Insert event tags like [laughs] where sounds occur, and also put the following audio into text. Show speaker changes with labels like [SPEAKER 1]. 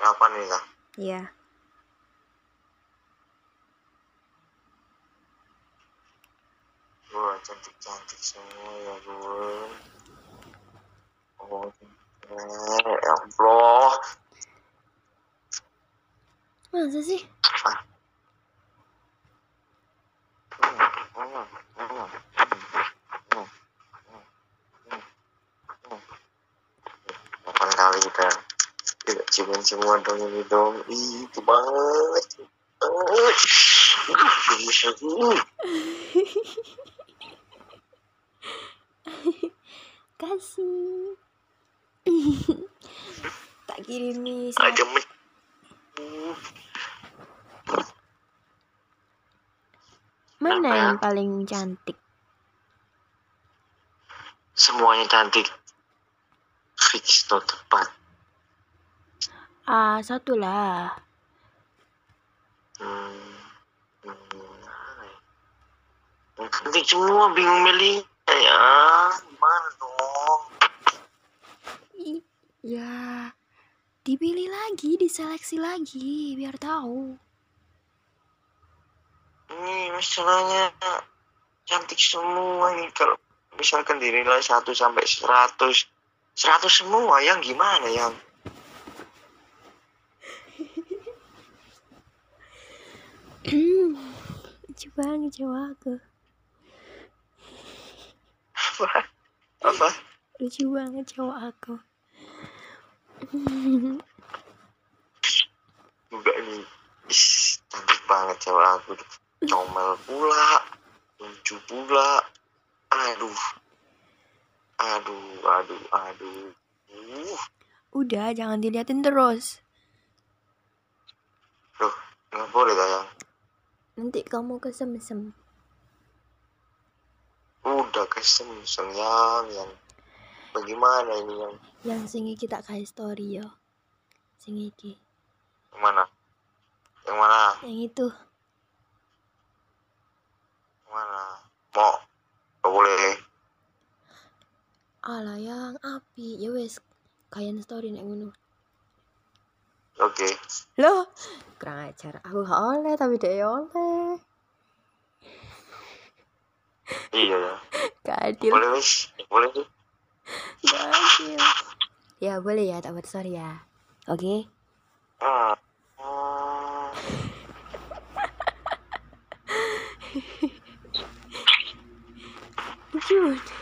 [SPEAKER 1] kapan nih kak?
[SPEAKER 2] Iya.
[SPEAKER 1] Wah cantik cantik semua ya gue. Oh eh, ya Allah.
[SPEAKER 2] Masa sih?
[SPEAKER 1] Kapan kali kita tidak ciuman semua dong ini dong. Ih, itu banget. itu banget. Ih, gemes aku.
[SPEAKER 2] Kasih. [laughs] tak kirimi sama
[SPEAKER 1] Ada men.
[SPEAKER 2] mana yang paling cantik?
[SPEAKER 1] Semuanya cantik. Fix not tepat.
[SPEAKER 2] Ah, satu lah.
[SPEAKER 1] Hmm. Hmm. Cantik semua bingung milih ya. Gimana dong?
[SPEAKER 2] I- Ya, dipilih lagi, diseleksi lagi, biar tahu. [clears throat]
[SPEAKER 1] Ini masalahnya cantik semua ini kalau misalkan dinilai 1 sampai 100 100 semua yang gimana yang
[SPEAKER 2] Coba ngecewa aku.
[SPEAKER 1] apa
[SPEAKER 2] lucu banget cowok aku [laughs]
[SPEAKER 1] juga nih Is, cantik banget cewek aku comel pula lucu pula aduh aduh aduh aduh uh,
[SPEAKER 2] udah jangan diliatin terus
[SPEAKER 1] nggak boleh ya. sayang
[SPEAKER 2] nanti kamu kesemsem
[SPEAKER 1] udah kesem sayang ya, yang bagaimana ini yang
[SPEAKER 2] yang singi kita kayak story yo sing iki
[SPEAKER 1] yang mana yang mana
[SPEAKER 2] yang itu
[SPEAKER 1] mana mau gak boleh
[SPEAKER 2] ala yang Ah, api ya wes kalian story nek ngono
[SPEAKER 1] oke
[SPEAKER 2] loh kurang ajar aku gak oleh tapi dia ya oleh
[SPEAKER 1] iya ya
[SPEAKER 2] gak adil
[SPEAKER 1] boleh wis boleh sih
[SPEAKER 2] gak adil ya boleh ya tak buat story ya oke
[SPEAKER 1] ah. Ah.
[SPEAKER 2] lucu banget.